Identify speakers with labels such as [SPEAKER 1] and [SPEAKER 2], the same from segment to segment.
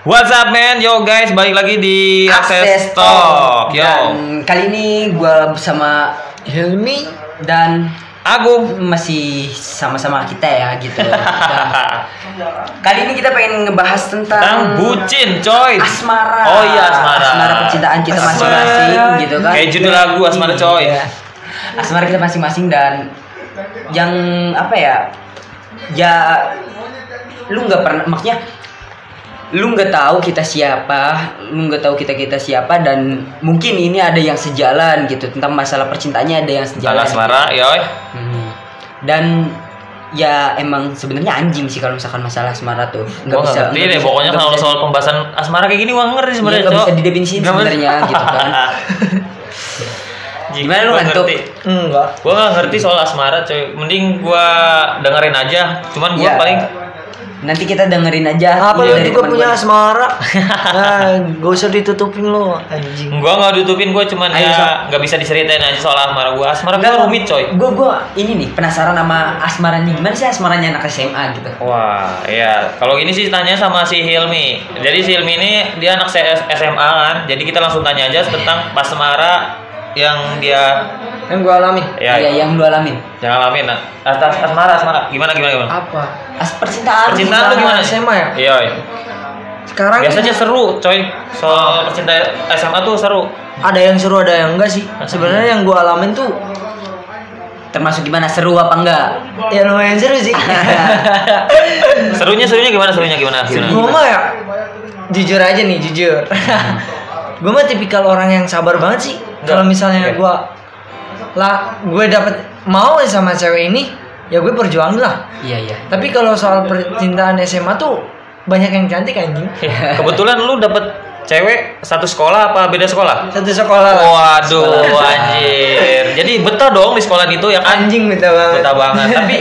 [SPEAKER 1] What's up man? Yo guys, balik lagi di Access Talk. Yo.
[SPEAKER 2] Dan kali ini gua bersama Hilmi dan
[SPEAKER 1] Agung.
[SPEAKER 2] masih sama-sama kita ya gitu. Dan kali ini kita pengen ngebahas tentang
[SPEAKER 1] Tang bucin, coy.
[SPEAKER 2] asmara.
[SPEAKER 1] Oh iya, asmara.
[SPEAKER 2] Asmara percintaan kita
[SPEAKER 1] Asmara.
[SPEAKER 2] masing-masing gitu kan.
[SPEAKER 1] Kayak judul lagu Asmara, coy.
[SPEAKER 2] Iya. Asmara kita masing-masing dan yang apa ya? Ya lu nggak pernah maksudnya lu nggak tahu kita siapa, lu nggak tahu kita kita siapa dan mungkin ini ada yang sejalan gitu tentang masalah percintaannya ada yang sejalan.
[SPEAKER 1] Salah asmara, eh. yoy.
[SPEAKER 2] Hmm. Dan ya emang sebenarnya anjing sih kalau misalkan masalah asmara tuh
[SPEAKER 1] Gua nggak ngerti deh, pokoknya
[SPEAKER 2] nggak
[SPEAKER 1] kalau
[SPEAKER 2] bisa-
[SPEAKER 1] soal pembahasan asmara kayak gini gua nggak ngerti sebenarnya,
[SPEAKER 2] Iya, nggak
[SPEAKER 1] Cok.
[SPEAKER 2] bisa didefinisiin
[SPEAKER 1] Nggak
[SPEAKER 2] sebenarnya,
[SPEAKER 1] bisa.
[SPEAKER 2] gitu kan.
[SPEAKER 1] Jing,
[SPEAKER 2] Gimana lu
[SPEAKER 1] gua
[SPEAKER 2] ngantuk?
[SPEAKER 1] ngerti.
[SPEAKER 3] Enggak.
[SPEAKER 1] Gua nggak ngerti soal asmara, coy. Mending gua dengerin aja. Cuman gua
[SPEAKER 2] Iya.
[SPEAKER 1] paling
[SPEAKER 2] nanti kita dengerin aja Iya,
[SPEAKER 3] Apa
[SPEAKER 2] ide
[SPEAKER 3] lu
[SPEAKER 2] dari
[SPEAKER 3] juga
[SPEAKER 2] teman
[SPEAKER 3] punya
[SPEAKER 2] gua.
[SPEAKER 3] asmara? ah, gak usah ditutupin lo, anjing.
[SPEAKER 1] gua nggak ditutupin gua cuman
[SPEAKER 2] Ayo, Sok.
[SPEAKER 1] ya nggak bisa diceritain aja soal asmara gua. Asmara
[SPEAKER 2] Enggak,
[SPEAKER 1] gua rumit, coy.
[SPEAKER 2] Gue gue ini nih penasaran sama asmaranya gimana sih asmaranya anak SMA gitu.
[SPEAKER 1] Wah, iya. Kalau ini sih tanya sama si Hilmi. Jadi si Hilmi ini dia anak CS SMA kan. Jadi kita langsung tanya aja tentang pasmara yang dia
[SPEAKER 3] Yang gua alami.
[SPEAKER 1] ya,
[SPEAKER 2] Iya, yang lu alamin.
[SPEAKER 1] yang ngalamin. Nah, atas asmara, asmara. Gimana gimana gimana?
[SPEAKER 3] Apa?
[SPEAKER 2] As percintaan.
[SPEAKER 1] Percintaan lu gimana?
[SPEAKER 3] SMA ya?
[SPEAKER 1] Iya. iya.
[SPEAKER 3] Sekarang kan
[SPEAKER 1] Biasanya seru, coy. Soal percintaan SMA tuh seru.
[SPEAKER 3] ada yang seru ada yang enggak sih. Sebenarnya yang gua alamin tuh
[SPEAKER 2] Termasuk gimana seru apa enggak?
[SPEAKER 3] ya lumayan seru sih.
[SPEAKER 1] Serunya serunya gimana? Serunya gimana?
[SPEAKER 3] gua mah ya jujur aja nih, jujur. gua mah tipikal orang yang sabar banget sih. Kalau misalnya
[SPEAKER 1] Oke.
[SPEAKER 3] gua lah gue dapet mau sama cewek ini, ya gue perjuangin lah.
[SPEAKER 2] Iya iya.
[SPEAKER 3] Tapi kalau soal percintaan SMA tuh banyak yang cantik anjing.
[SPEAKER 1] Kebetulan lu dapet cewek satu sekolah apa beda sekolah?
[SPEAKER 3] Satu sekolah lah.
[SPEAKER 1] Waduh, anjir. Jadi betah dong di sekolah itu ya kan?
[SPEAKER 3] Anjing minta banget.
[SPEAKER 1] Betah banget. Tapi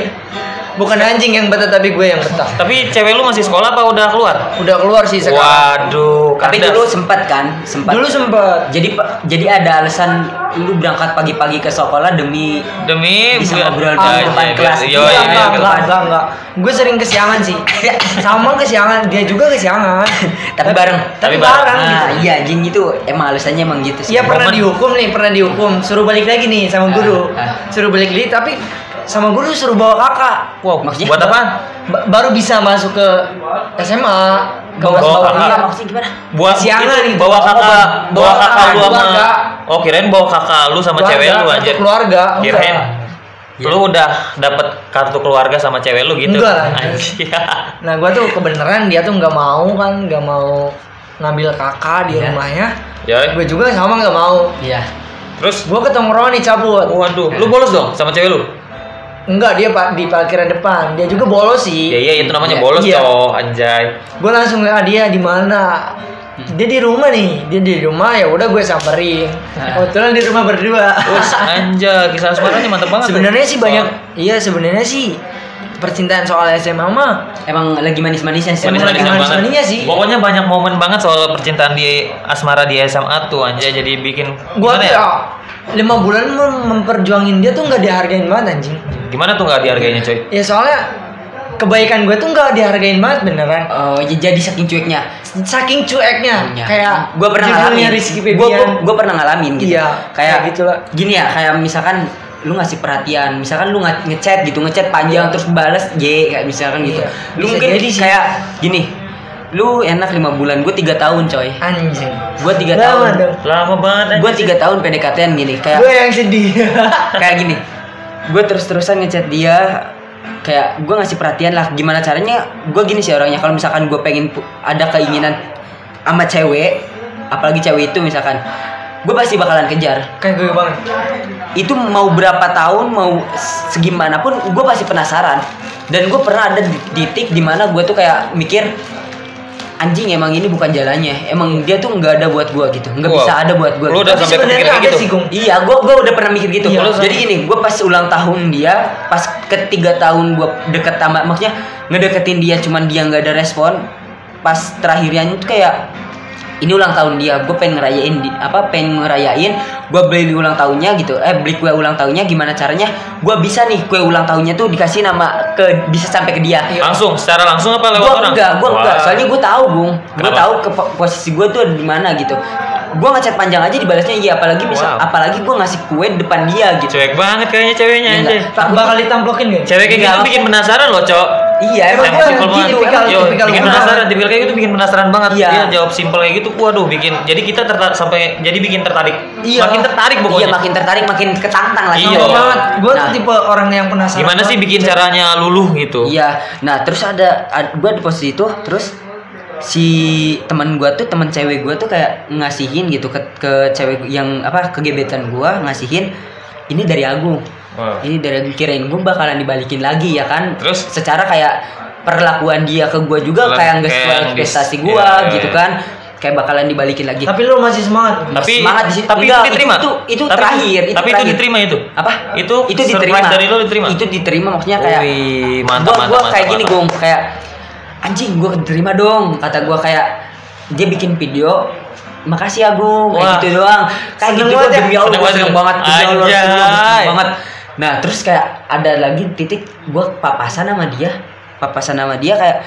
[SPEAKER 3] bukan anjing yang betah tapi gue yang betah.
[SPEAKER 1] Tapi cewek lu masih sekolah apa udah keluar?
[SPEAKER 3] Udah keluar sih sekarang.
[SPEAKER 1] Waduh,
[SPEAKER 2] Tapi
[SPEAKER 1] kandas.
[SPEAKER 2] dulu sempat kan, sempat.
[SPEAKER 3] Dulu sempet
[SPEAKER 2] Jadi pa- jadi ada alasan lu berangkat pagi-pagi ke sekolah demi
[SPEAKER 1] demi
[SPEAKER 2] Bisa
[SPEAKER 1] buat-
[SPEAKER 2] ngobrol di
[SPEAKER 1] Ah,
[SPEAKER 2] depan
[SPEAKER 1] iya,
[SPEAKER 2] kelas.
[SPEAKER 1] Iya,
[SPEAKER 3] enggak,
[SPEAKER 1] iya,
[SPEAKER 3] enggak,
[SPEAKER 1] iya,
[SPEAKER 3] enggak, enggak, enggak. Gue sering kesiangan sih. Sama kesiangan, dia juga kesiangan.
[SPEAKER 2] tapi bareng.
[SPEAKER 1] Tapi
[SPEAKER 3] Tapi
[SPEAKER 1] bareng.
[SPEAKER 3] bareng
[SPEAKER 2] Nah,
[SPEAKER 3] gitu.
[SPEAKER 2] iya anjing gitu emang alasannya emang gitu sih.
[SPEAKER 3] Iya pernah
[SPEAKER 1] Momen.
[SPEAKER 3] dihukum nih, pernah dihukum. Suruh balik lagi nih sama guru.
[SPEAKER 2] Ah, ah.
[SPEAKER 3] Suruh balik lagi tapi sama guru suruh bawa kakak.
[SPEAKER 1] Wow,
[SPEAKER 2] Maksudnya
[SPEAKER 1] buat apa?
[SPEAKER 3] Ba- baru bisa masuk ke SMA. Ke
[SPEAKER 1] Bawa
[SPEAKER 3] masuk
[SPEAKER 1] kakak.
[SPEAKER 2] Iya,
[SPEAKER 3] kuliah.
[SPEAKER 2] maksudnya gimana?
[SPEAKER 1] Buat
[SPEAKER 3] Siangan
[SPEAKER 1] itu,
[SPEAKER 3] gitu.
[SPEAKER 1] bawa kakak,
[SPEAKER 3] Bawa
[SPEAKER 1] bawa kakak lu sama
[SPEAKER 3] keluarga.
[SPEAKER 1] Oh, kirain bawa kakak lu sama
[SPEAKER 3] Keluarga,
[SPEAKER 1] cewek lu
[SPEAKER 3] satu
[SPEAKER 1] anjir.
[SPEAKER 3] Keluarga.
[SPEAKER 1] Kirain
[SPEAKER 3] enggak.
[SPEAKER 1] lu udah dapet kartu keluarga sama cewek lu gitu.
[SPEAKER 3] Enggak lah,
[SPEAKER 1] Anjir.
[SPEAKER 3] Nah, gua tuh kebenaran dia tuh nggak mau kan, nggak mau ngambil kakak di
[SPEAKER 2] Iya.
[SPEAKER 3] rumahnya.
[SPEAKER 1] Ya.
[SPEAKER 3] Gue juga sama nggak mau.
[SPEAKER 2] Iya.
[SPEAKER 1] Terus
[SPEAKER 3] Gue ketemu Roni cabut.
[SPEAKER 1] waduh, lu bolos dong sama cewek lu?
[SPEAKER 3] Enggak, dia pak di parkiran depan. Dia juga bolos sih.
[SPEAKER 1] Ya iya itu namanya
[SPEAKER 3] Iya,
[SPEAKER 1] bolos
[SPEAKER 3] iya.
[SPEAKER 1] toh, anjay.
[SPEAKER 3] Gue langsung WA dia di mana.
[SPEAKER 1] Hmm.
[SPEAKER 3] Dia di rumah nih. Dia di rumah ya udah gue samperin.
[SPEAKER 2] Nah.
[SPEAKER 3] Kebetulan di rumah berdua.
[SPEAKER 1] Terus anjay, kisah asmaranya mantep banget. eh. tuh.
[SPEAKER 3] Sebenarnya sih banyak.
[SPEAKER 1] Soal-
[SPEAKER 3] Iya, sebenarnya sih percintaan soal SMA mah
[SPEAKER 2] Emang lagi manis-manisnya sih.
[SPEAKER 1] manis
[SPEAKER 3] Manis-manisnya.
[SPEAKER 1] manis
[SPEAKER 3] Manis-manisnya
[SPEAKER 1] banget.
[SPEAKER 3] sih.
[SPEAKER 1] Pokoknya banyak momen banget soal percintaan di asmara di SMA tuh anjay jadi bikin
[SPEAKER 3] gue
[SPEAKER 1] gimana
[SPEAKER 3] tuh
[SPEAKER 1] ya?
[SPEAKER 3] ya, lima bulan mem- memperjuangin dia tuh nggak dihargain banget anjing.
[SPEAKER 1] Gimana tuh nggak dihargainya coy?
[SPEAKER 3] Ya soalnya kebaikan gue tuh nggak dihargain banget beneran.
[SPEAKER 2] Oh, j- jadi saking cueknya.
[SPEAKER 3] Saking cueknya, Nah, kayak
[SPEAKER 2] gue Iya. pernah
[SPEAKER 3] judulnya
[SPEAKER 2] ngalamin.
[SPEAKER 3] Rizky
[SPEAKER 2] Gua- gua-
[SPEAKER 3] Febian.
[SPEAKER 2] gua pernah ngalamin gitu.
[SPEAKER 3] Iya,
[SPEAKER 2] kayak
[SPEAKER 3] kayak gitu lah.
[SPEAKER 2] Gini ya, kayak misalkan lu ngasih perhatian, misalkan lu nge- ngechat gitu, ngechat panjang terus balas J kayak misalkan gitu.
[SPEAKER 3] Iya,
[SPEAKER 2] Lu
[SPEAKER 3] bisa
[SPEAKER 2] mungkin
[SPEAKER 3] jadi sih.
[SPEAKER 2] kayak gini. Lu enak lima bulan, gue tiga tahun coy.
[SPEAKER 3] Anjing.
[SPEAKER 2] Gue tiga
[SPEAKER 3] Lama
[SPEAKER 2] tahun.
[SPEAKER 3] dong.
[SPEAKER 1] Lama banget anjay.
[SPEAKER 2] Gue tiga tahun PDKT-an gini kayak
[SPEAKER 3] Gue yang sedih.
[SPEAKER 2] kayak gini gue terus-terusan ngechat dia kayak gue ngasih perhatian lah gimana caranya gue gini sih orangnya kalau misalkan gue pengen pu- ada keinginan sama cewek apalagi cewek itu misalkan gue pasti bakalan kejar
[SPEAKER 3] kayak gue banget.
[SPEAKER 2] itu mau berapa tahun mau segimana pun gue pasti penasaran dan gue pernah ada di titik dimana gue tuh kayak mikir anjing emang ini bukan jalannya emang dia tuh nggak ada buat gue gitu nggak
[SPEAKER 1] Wow.
[SPEAKER 2] bisa ada buat gue
[SPEAKER 1] Lu udah
[SPEAKER 3] Tapi
[SPEAKER 1] sampai
[SPEAKER 3] sebenarnya
[SPEAKER 1] kepikiran
[SPEAKER 3] ada
[SPEAKER 1] gitu.
[SPEAKER 3] sih, Gung.
[SPEAKER 2] Iya, gua gua udah pernah mikir gitu.
[SPEAKER 3] Iya,
[SPEAKER 2] Terus,
[SPEAKER 1] sama.
[SPEAKER 2] Jadi gini, gua pas ulang tahun dia, pas ketiga tahun gua deket sama maksudnya ngedeketin dia cuman dia nggak ada respon. Pas terakhirnya itu kayak ini ulang tahun dia gue pengen ngerayain di- apa pengen ngerayain gue beli ulang tahunnya gitu eh beli kue ulang tahunnya gimana caranya gue bisa nih kue ulang tahunnya tuh dikasih nama ke bisa sampai ke dia
[SPEAKER 1] Langsung, secara langsung apa lewat
[SPEAKER 2] gue
[SPEAKER 1] orang?
[SPEAKER 2] enggak gue enggak
[SPEAKER 1] Wah.
[SPEAKER 2] soalnya gue tahu bung gue
[SPEAKER 1] Kenapa?
[SPEAKER 2] tahu ke po- posisi gue tuh ada di mana gitu gue ngechat panjang aja dibalasnya iya apalagi
[SPEAKER 1] Wow.
[SPEAKER 2] misal apalagi gue ngasih kue di depan dia gitu
[SPEAKER 1] Cuek banget kayaknya ceweknya
[SPEAKER 2] Iya,
[SPEAKER 1] anjay.
[SPEAKER 2] enggak.
[SPEAKER 3] tak bakal ditamplokin gak?
[SPEAKER 1] Cewek kayak gitu
[SPEAKER 2] Enggak.
[SPEAKER 1] bikin penasaran loh, Cok.
[SPEAKER 2] iya emang gue
[SPEAKER 3] Emang
[SPEAKER 1] Emang
[SPEAKER 3] gitu,
[SPEAKER 1] banget.
[SPEAKER 3] emang
[SPEAKER 1] Yo,
[SPEAKER 3] tipikal
[SPEAKER 1] bikin
[SPEAKER 3] orang.
[SPEAKER 1] penasaran, tipikal kayak gitu bikin penasaran banget.
[SPEAKER 2] Iya.
[SPEAKER 1] Dia jawab simpel kayak gitu, waduh bikin. Jadi kita tertarik sampai jadi bikin tertarik.
[SPEAKER 3] Iya.
[SPEAKER 1] Makin tertarik
[SPEAKER 2] iya
[SPEAKER 1] pokoknya.
[SPEAKER 2] makin tertarik makin ketantang lah
[SPEAKER 1] Iya.
[SPEAKER 3] Iya banget. Gue
[SPEAKER 2] Nah.
[SPEAKER 3] tuh tipe orang yang penasaran.
[SPEAKER 1] Gimana sih
[SPEAKER 3] banget.
[SPEAKER 1] bikin caranya luluh gitu?
[SPEAKER 2] Iya. Nah, terus ada, gue di posisi itu, terus si teman gua tuh teman cewek gua tuh kayak ngasihin gitu ke, ke cewek yang apa ke gebetan gua ngasihin ini dari Agung
[SPEAKER 1] Wah.
[SPEAKER 2] ini dari Agung kirain gue bakalan dibalikin lagi ya kan
[SPEAKER 1] Terus?
[SPEAKER 2] secara kayak perlakuan dia ke gua juga
[SPEAKER 1] Perla-
[SPEAKER 2] kayak nggak
[SPEAKER 1] kayak
[SPEAKER 2] sesuai
[SPEAKER 1] yang dis-
[SPEAKER 2] ekspektasi
[SPEAKER 1] iya,
[SPEAKER 2] gua
[SPEAKER 1] iya,
[SPEAKER 2] gitu
[SPEAKER 1] iya.
[SPEAKER 2] kan kayak bakalan dibalikin lagi
[SPEAKER 3] Tapi lu masih semangat.
[SPEAKER 1] Tapi
[SPEAKER 2] Semangat di situ.
[SPEAKER 1] tapi
[SPEAKER 2] Enggak,
[SPEAKER 1] itu diterima.
[SPEAKER 2] itu- itu
[SPEAKER 1] Tapi-
[SPEAKER 2] terakhir, itu
[SPEAKER 1] Tapi itu
[SPEAKER 2] terakhir.
[SPEAKER 1] diterima itu.
[SPEAKER 2] apa
[SPEAKER 1] Itu
[SPEAKER 2] itu
[SPEAKER 1] surprise
[SPEAKER 2] diterima
[SPEAKER 1] dari lo diterima?
[SPEAKER 2] itu diterima maksudnya kayak
[SPEAKER 1] Wih, mantap,
[SPEAKER 2] gua,
[SPEAKER 1] mantap,
[SPEAKER 2] gua
[SPEAKER 1] mantap,
[SPEAKER 2] kayak gini
[SPEAKER 1] mantap.
[SPEAKER 2] gong kayak anjing gua terima dong kata gua kayak dia bikin video makasih Agung kayak
[SPEAKER 1] Wah.
[SPEAKER 2] gitu doang kayak
[SPEAKER 3] Seneng
[SPEAKER 2] gitu gua
[SPEAKER 3] banget ya?
[SPEAKER 2] demi Allah
[SPEAKER 1] Seneng
[SPEAKER 2] gua
[SPEAKER 1] banget
[SPEAKER 2] seneng
[SPEAKER 1] ya?
[SPEAKER 2] banget demi Allah
[SPEAKER 1] Anjay.
[SPEAKER 2] seneng banget, seneng banget nah terus kayak ada lagi titik gua papasan sama dia papasan sama dia kayak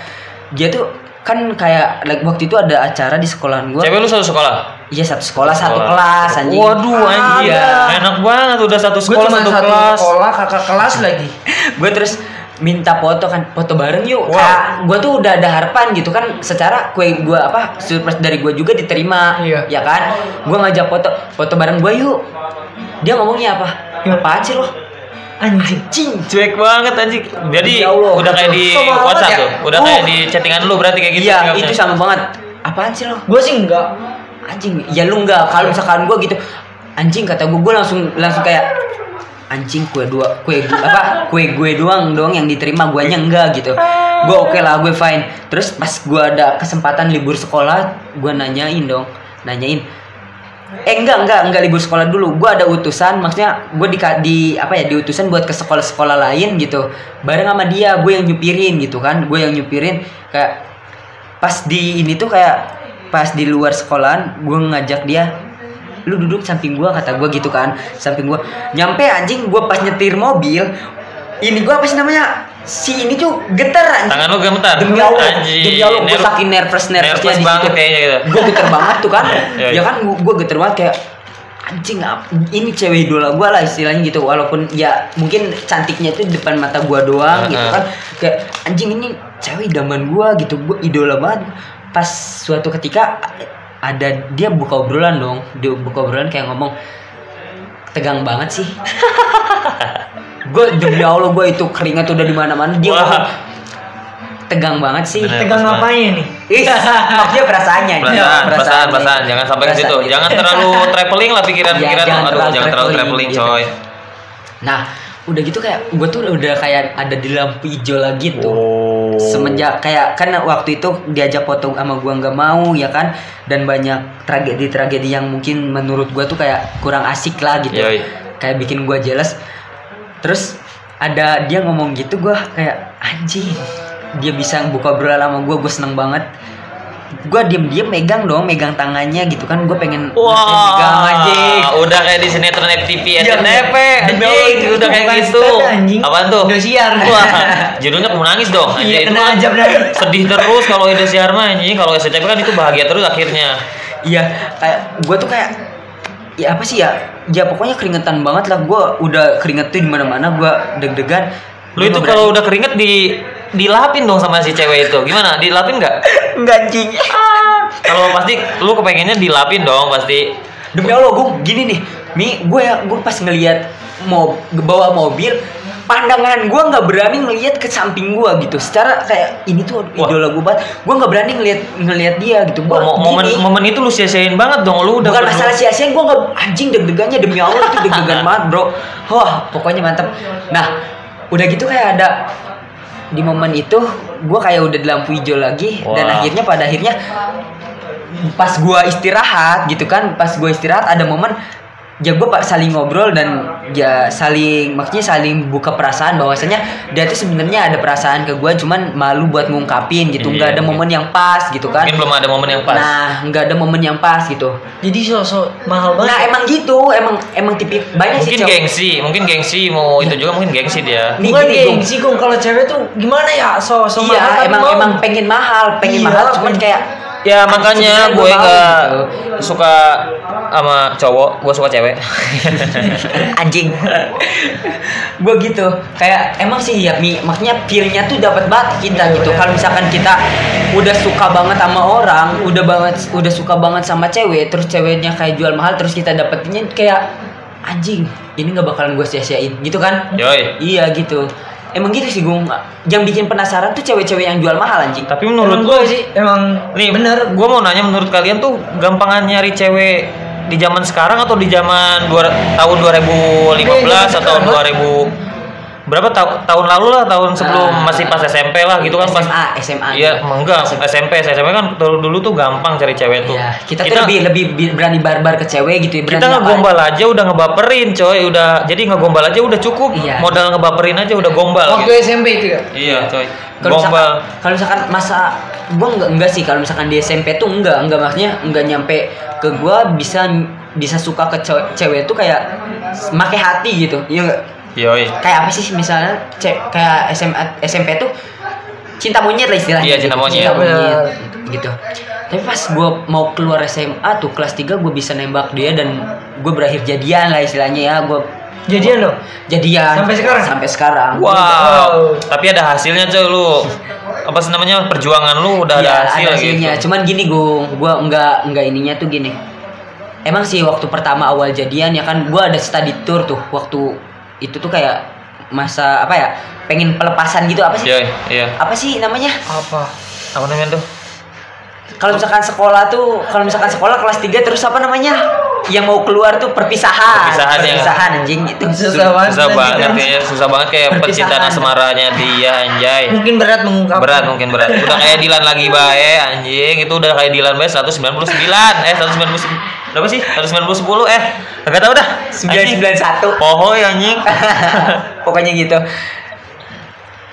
[SPEAKER 2] dia tuh kan kayak like, waktu itu ada acara di sekolahan gua
[SPEAKER 1] Cewek lu satu sekolah?
[SPEAKER 2] iya satu sekolah satu
[SPEAKER 1] Sekolah.
[SPEAKER 2] kelas anjing
[SPEAKER 1] Waduh anjing. ya.
[SPEAKER 2] Iya.
[SPEAKER 1] Enak banget udah satu
[SPEAKER 3] Gue
[SPEAKER 1] sekolah
[SPEAKER 3] cuma
[SPEAKER 1] satu,
[SPEAKER 3] satu
[SPEAKER 1] kelas.
[SPEAKER 3] sekolah kakak kelas lagi.
[SPEAKER 2] gue terus minta foto kan foto bareng yuk
[SPEAKER 1] Wow.
[SPEAKER 2] kayak gue tuh udah ada harapan gitu kan secara kue gue apa surprise dari gue juga diterima
[SPEAKER 3] Iya.
[SPEAKER 2] ya kan gue ngajak foto foto bareng gue yuk dia ngomongnya apa
[SPEAKER 3] Iya.
[SPEAKER 2] apaan sih lo
[SPEAKER 3] Anjing.
[SPEAKER 2] cing
[SPEAKER 1] Cuek banget anjing. Jadi
[SPEAKER 2] Ya Allah.
[SPEAKER 1] udah kayak di
[SPEAKER 3] Sama banget
[SPEAKER 1] WhatsApp
[SPEAKER 3] ya?
[SPEAKER 1] tuh. Udah
[SPEAKER 3] Uh.
[SPEAKER 1] kayak di chattingan lu berarti kayak gitu.
[SPEAKER 2] iya
[SPEAKER 1] sikapnya.
[SPEAKER 2] itu sama banget apaan sih lo
[SPEAKER 3] Gue sih enggak.
[SPEAKER 2] anjing ya lu nggak kalau misalkan gue gitu anjing kata gue gue langsung langsung kayak anjing kue dua kue gu- apa kue gue doang doang yang diterima guanya enggak gitu gue oke lah gue fine terus pas gue ada kesempatan libur sekolah gue nanyain dong nanyain eh enggak enggak enggak libur sekolah dulu gue ada utusan maksudnya gue di, di apa ya diutusan buat ke sekolah-sekolah lain gitu bareng sama dia gue yang nyupirin gitu kan gue yang nyupirin kayak pas di ini tuh kayak pas di luar sekolahan gue ngajak dia lu duduk samping gua kata gua gitu kan samping gua nyampe anjing gua pas nyetir mobil ini gua apa sih namanya si ini tuh getar anjing
[SPEAKER 1] Tangan lu gemetar.
[SPEAKER 2] demi Allah
[SPEAKER 1] Anjing.
[SPEAKER 2] demi Allah gue
[SPEAKER 1] Nerv-
[SPEAKER 2] saking nervous nervousnya
[SPEAKER 1] nervous
[SPEAKER 2] di
[SPEAKER 1] banget
[SPEAKER 2] situ
[SPEAKER 1] kayaknya gitu.
[SPEAKER 2] gue geter banget tuh kan
[SPEAKER 1] Iya,
[SPEAKER 2] ya
[SPEAKER 1] iya.
[SPEAKER 2] kan gue geter banget kayak anjing ap- ini cewek idola gue lah istilahnya gitu walaupun ya mungkin cantiknya itu di depan mata gue doang gitu
[SPEAKER 1] Heeh.
[SPEAKER 2] kan kayak anjing ini cewek idaman gue gitu gue idola banget pas suatu ketika ada dia buka obrolan dong dia buka obrolan kayak ngomong tegang banget sih gue demi allah gue itu keringat udah di mana mana dia
[SPEAKER 1] Wah.
[SPEAKER 2] ngomong, tegang banget sih
[SPEAKER 1] Bener.
[SPEAKER 3] Tegang
[SPEAKER 1] Nervous
[SPEAKER 3] ngapain nih?
[SPEAKER 2] Ih, maksudnya perasaannya. gitu.
[SPEAKER 1] Iya, Perasaan, perasaan, perasaan. Jangan sampai ke situ. Jangan terlalu traveling lah pikiran-pikiran.
[SPEAKER 2] Iya, jangan
[SPEAKER 1] Aduh,
[SPEAKER 2] terlalu
[SPEAKER 1] jangan terlalu
[SPEAKER 2] traveling,
[SPEAKER 1] traveling,
[SPEAKER 2] iya.
[SPEAKER 1] coy.
[SPEAKER 2] Nah, udah gitu kayak gue tuh udah kayak ada di lampu hijau lagi tuh.
[SPEAKER 1] Oh.
[SPEAKER 2] Gitu. Semenjak kayak kan waktu itu diajak foto sama gua nggak mau ya kan dan banyak tragedi-tragedi yang mungkin menurut gua tuh kayak kurang asik lah gitu.
[SPEAKER 1] Yoi.
[SPEAKER 2] Kayak bikin gua jelas. Terus ada dia ngomong gitu gua kayak anjing. Dia bisa buka obrolan sama gua, gua seneng banget. Gua diem-diem megang dong, megang tangannya gitu kan. Gua pengen
[SPEAKER 1] Wah,
[SPEAKER 2] megang anjing.
[SPEAKER 1] udah kayak di sinetron FTV SNP,
[SPEAKER 3] Iya, demi
[SPEAKER 1] anjing,
[SPEAKER 3] Allah,
[SPEAKER 1] udah
[SPEAKER 3] itu
[SPEAKER 1] kayak
[SPEAKER 3] bukan
[SPEAKER 1] gitu.
[SPEAKER 3] stand, anjing.
[SPEAKER 1] Apaan tuh?
[SPEAKER 3] Indosiar.
[SPEAKER 1] Wah, judulnya kamu nangis dong.
[SPEAKER 3] Iya,
[SPEAKER 1] Anjing, itu
[SPEAKER 3] kena
[SPEAKER 1] kan
[SPEAKER 3] aja benar.
[SPEAKER 1] sedih terus kalau Indosiar mah anjing, kalau SNP kan itu bahagia terus akhirnya.
[SPEAKER 2] Iya, kayak gue tuh kayak ya apa sih ya? Ya pokoknya keringetan banget lah. Gue udah keringet tuh di mana-mana. Gue deg-degan.
[SPEAKER 1] Lu itu kalau udah keringet di dilapin dong sama si cewek itu. Gimana? Dilapin nggak?
[SPEAKER 2] ganjing.
[SPEAKER 1] Kalau pasti lu kepengennya dilapin dong pasti.
[SPEAKER 2] Demi Allah, gue gini nih. Mi, gue ya, gue pas ngelihat mau bawa mobil, pandangan gue nggak berani ngelihat ke samping gue gitu. Secara kayak ini tuh
[SPEAKER 1] Wah.
[SPEAKER 2] idola gue banget. Gue nggak berani ngelihat ngelihat dia gitu. Gue
[SPEAKER 1] Mo- momen momen itu lu sia-siain banget dong lu udah
[SPEAKER 2] bukan
[SPEAKER 1] berdua-
[SPEAKER 2] masalah sia-sia gue nggak anjing deg-degannya demi allah itu deg-degan banget bro wah pokoknya mantep nah udah gitu kayak ada di momen itu gue kayak udah di lampu hijau lagi dan
[SPEAKER 1] Wah.
[SPEAKER 2] akhirnya pada akhirnya pas gue istirahat gitu kan pas gue istirahat ada momen ya gue pak saling ngobrol dan ya saling maksudnya saling buka perasaan bahwasanya dia tuh sebenarnya ada perasaan ke gue cuman malu buat ngungkapin gitu nggak
[SPEAKER 1] Iya.
[SPEAKER 2] ada momen yang pas gitu kan
[SPEAKER 1] Mungkin belum ada momen yang pas.
[SPEAKER 2] nah nggak ada momen yang pas gitu
[SPEAKER 3] Jadi sosok mahal banget.
[SPEAKER 2] nah emang gitu emang emang tipik banyak sih
[SPEAKER 1] mungkin
[SPEAKER 2] cowok-
[SPEAKER 1] gengsi, mungkin gengsi mau itu juga mungkin gengsi dia.
[SPEAKER 2] nih,
[SPEAKER 3] Bukan
[SPEAKER 2] gini, Gung.
[SPEAKER 3] gengsi Gung kalau cewek tuh gimana ya
[SPEAKER 2] iya
[SPEAKER 3] sosok mahal tapi
[SPEAKER 2] emang
[SPEAKER 3] mau.
[SPEAKER 2] emang pengen mahal pengen
[SPEAKER 3] Iya,
[SPEAKER 2] mahal cuman
[SPEAKER 3] pengen-
[SPEAKER 2] kayak
[SPEAKER 1] Ya makanya gue
[SPEAKER 2] sebenarnya gua mau
[SPEAKER 1] nggak
[SPEAKER 2] gitu.
[SPEAKER 1] suka sama cowok, gue suka cewek.
[SPEAKER 2] anjing gue gitu kayak emang sih ya Mi, maksudnya feelnya tuh dapat banget kita gitu kalau misalkan kita udah suka banget sama orang udah banget udah suka banget sama cewek terus ceweknya kayak jual mahal terus kita dapetinnya kayak anjing ini nggak bakalan gue sia-siain gitu kan
[SPEAKER 1] Yoi.
[SPEAKER 2] iya gitu emang gitu sih Gung yang bikin penasaran tuh cewek-cewek yang jual mahal anjing
[SPEAKER 1] Tapi
[SPEAKER 3] menurut
[SPEAKER 1] menurut
[SPEAKER 3] gue
[SPEAKER 1] gue
[SPEAKER 3] sih emang
[SPEAKER 1] nih
[SPEAKER 3] bener
[SPEAKER 1] bener, gue mau nanya menurut kalian tuh gampangan nyari cewek di zaman sekarang atau di zaman dua, tahun 2015
[SPEAKER 3] Iya, zaman
[SPEAKER 1] atau
[SPEAKER 3] sekarang, Bang.
[SPEAKER 1] 2000 berapa ta- tahun lalu lah tahun sebelum
[SPEAKER 2] Ah.
[SPEAKER 1] masih pas SMP lah gitu kan pas
[SPEAKER 2] SMA SMA
[SPEAKER 1] Iya, enggak SMP, SMP kan dulu, dulu tuh gampang cari cewek tuh.
[SPEAKER 2] Iya, kita, tuh lebih lebih bi- berani barbar ke cewek gitu ya berani
[SPEAKER 1] gitu. kita
[SPEAKER 2] apa-
[SPEAKER 1] ngegombal aja udah ngebaperin coy udah jadi ngegombal aja udah cukup
[SPEAKER 2] Iya.
[SPEAKER 1] modal ngebaperin aja udah gombal
[SPEAKER 3] waktu
[SPEAKER 1] gitu.
[SPEAKER 3] SMP itu ya.
[SPEAKER 1] iya coy
[SPEAKER 2] kalau misalkan,
[SPEAKER 1] gombal
[SPEAKER 2] kalau misalkan masa gua enggak enggak sih kalau misalkan di SMP tuh enggak enggak maksudnya enggak nyampe ke gua bisa bisa suka ke cewek, cewek tuh kayak make hati gitu iya enggak?
[SPEAKER 1] yoi
[SPEAKER 2] kayak apa sih misalnya ce- kayak SMA SMP tuh cinta monyet lah istilahnya
[SPEAKER 1] Iya, cinta monyet.
[SPEAKER 2] monyet, gitu tapi pas gua mau keluar SMA tuh kelas 3 gua bisa nembak dia dan gua berakhir jadian lah istilahnya ya gua
[SPEAKER 3] Jadian lo.
[SPEAKER 2] jadian
[SPEAKER 3] Sampai sekarang?
[SPEAKER 2] sampai sekarang
[SPEAKER 1] wow.
[SPEAKER 3] Wow.
[SPEAKER 1] tapi ada hasilnya coy lu apa sih namanya perjuangan lu udah ada
[SPEAKER 2] Iya,
[SPEAKER 1] hasil
[SPEAKER 2] hasilnya.
[SPEAKER 1] gitu
[SPEAKER 2] Cuman gini Gung, gua enggak enggak ininya tuh gini. Emang sih waktu pertama awal jadian ya kan gua ada study tour tuh waktu itu tuh kayak masa apa ya? Pengen pelepasan gitu apa sih?
[SPEAKER 1] Yoi, iya
[SPEAKER 2] Apa sih namanya?
[SPEAKER 3] Apa?
[SPEAKER 1] apa namanya tuh
[SPEAKER 2] Kalau misalkan sekolah tuh, kalau misalkan sekolah kelas 3 terus apa namanya? Yang mau keluar tuh perpisahan.
[SPEAKER 1] Perpisahan, ya.
[SPEAKER 2] Perpisahan anjing gitu. itu.
[SPEAKER 3] Susah banget.
[SPEAKER 1] susah
[SPEAKER 3] Lanjut,
[SPEAKER 1] banget kan.
[SPEAKER 3] Bang.
[SPEAKER 1] kayaknya susah banget kayak percintaan
[SPEAKER 2] Perpisahan.
[SPEAKER 1] asmaranya dia anjay
[SPEAKER 3] Mungkin berat mengungkap.
[SPEAKER 1] berat mungkin berat udah kayak Dilan lagi bae anjing itu udah kayak Dilan bae 199 eh 190 berapa sih 190 eh enggak tahu dah
[SPEAKER 2] 991.
[SPEAKER 1] pohoy anjing
[SPEAKER 2] pokoknya gitu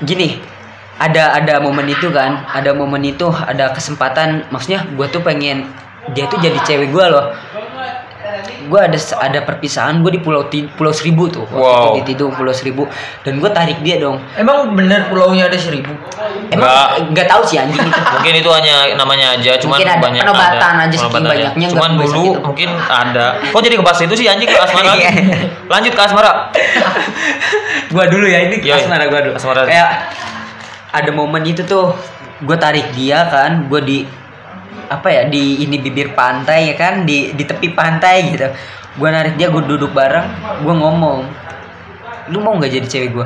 [SPEAKER 2] gini ada ada momen itu kan ada momen itu ada kesempatan maksudnya gue tuh pengen dia tuh jadi cewek gue loh gue ada ada perpisahan gue di pulau Ti- pulau seribu tuh waktu
[SPEAKER 1] Wow.
[SPEAKER 2] itu di Tidung pulau seribu dan gue tarik dia dong
[SPEAKER 3] Emang bener pulaunya ada seribu.
[SPEAKER 2] emang nggak tahu sih anjing itu
[SPEAKER 1] mungkin itu hanya namanya aja cuman
[SPEAKER 2] Mungkin ada
[SPEAKER 1] banyak
[SPEAKER 2] penobatan aja saking
[SPEAKER 1] penobatan ya.
[SPEAKER 2] banyaknya,
[SPEAKER 1] cuman
[SPEAKER 2] nggak
[SPEAKER 1] dulu
[SPEAKER 2] bisa gitu.
[SPEAKER 1] mungkin ada kok jadi kebas itu sih anjing ke asmara
[SPEAKER 2] Iya.
[SPEAKER 1] lanjut ke asmara
[SPEAKER 2] gua dulu ya ini
[SPEAKER 1] Yoi.
[SPEAKER 2] asmara gua dulu
[SPEAKER 1] Iya, Asmara.
[SPEAKER 2] kayak ada momen itu tuh gue tarik dia kan gue di apa ya di ini bibir pantai ya kan di di tepi pantai gitu gue narik dia gue duduk bareng gue ngomong lu mau nggak jadi cewek gue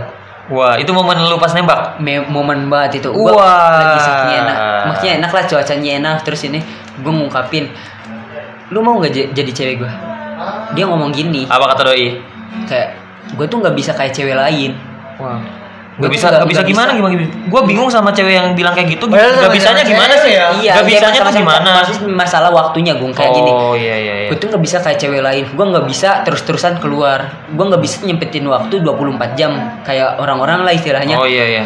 [SPEAKER 1] wah itu momen lu pas nembak
[SPEAKER 2] Me- momen banget itu gua
[SPEAKER 1] Wah.
[SPEAKER 2] lagi saking enak maksudnya enak lah cuacanya enak terus ini gue ngungkapin lu mau nggak j- jadi cewek gue dia ngomong gini
[SPEAKER 1] apa kata doi
[SPEAKER 2] kayak gue tuh nggak bisa kayak cewek lain
[SPEAKER 3] Wah.
[SPEAKER 1] Gak
[SPEAKER 2] Gua tuh
[SPEAKER 1] bisa,
[SPEAKER 2] nggak-
[SPEAKER 1] gak bisa
[SPEAKER 2] nggak
[SPEAKER 1] gimana, gimana, gimana? Gue bingung sama cewek yang bilang kayak gitu.
[SPEAKER 3] Padahal
[SPEAKER 1] Gak
[SPEAKER 3] sama
[SPEAKER 1] bisanya
[SPEAKER 3] cewek
[SPEAKER 1] gimana sih?
[SPEAKER 3] ya.
[SPEAKER 2] Iya,
[SPEAKER 1] Gak
[SPEAKER 2] dia
[SPEAKER 1] bisanya tuh
[SPEAKER 2] masalah-
[SPEAKER 1] gimana?
[SPEAKER 2] masalah- Masalah waktunya gue kayak gini.
[SPEAKER 1] Oh iya iya. iya.
[SPEAKER 2] Gue tuh nggak bisa kayak cewek lain. Gue nggak bisa terus-terusan keluar. Gue nggak bisa nyempetin waktu 24 jam kayak orang-orang lah istilahnya.
[SPEAKER 1] Oh iya iya.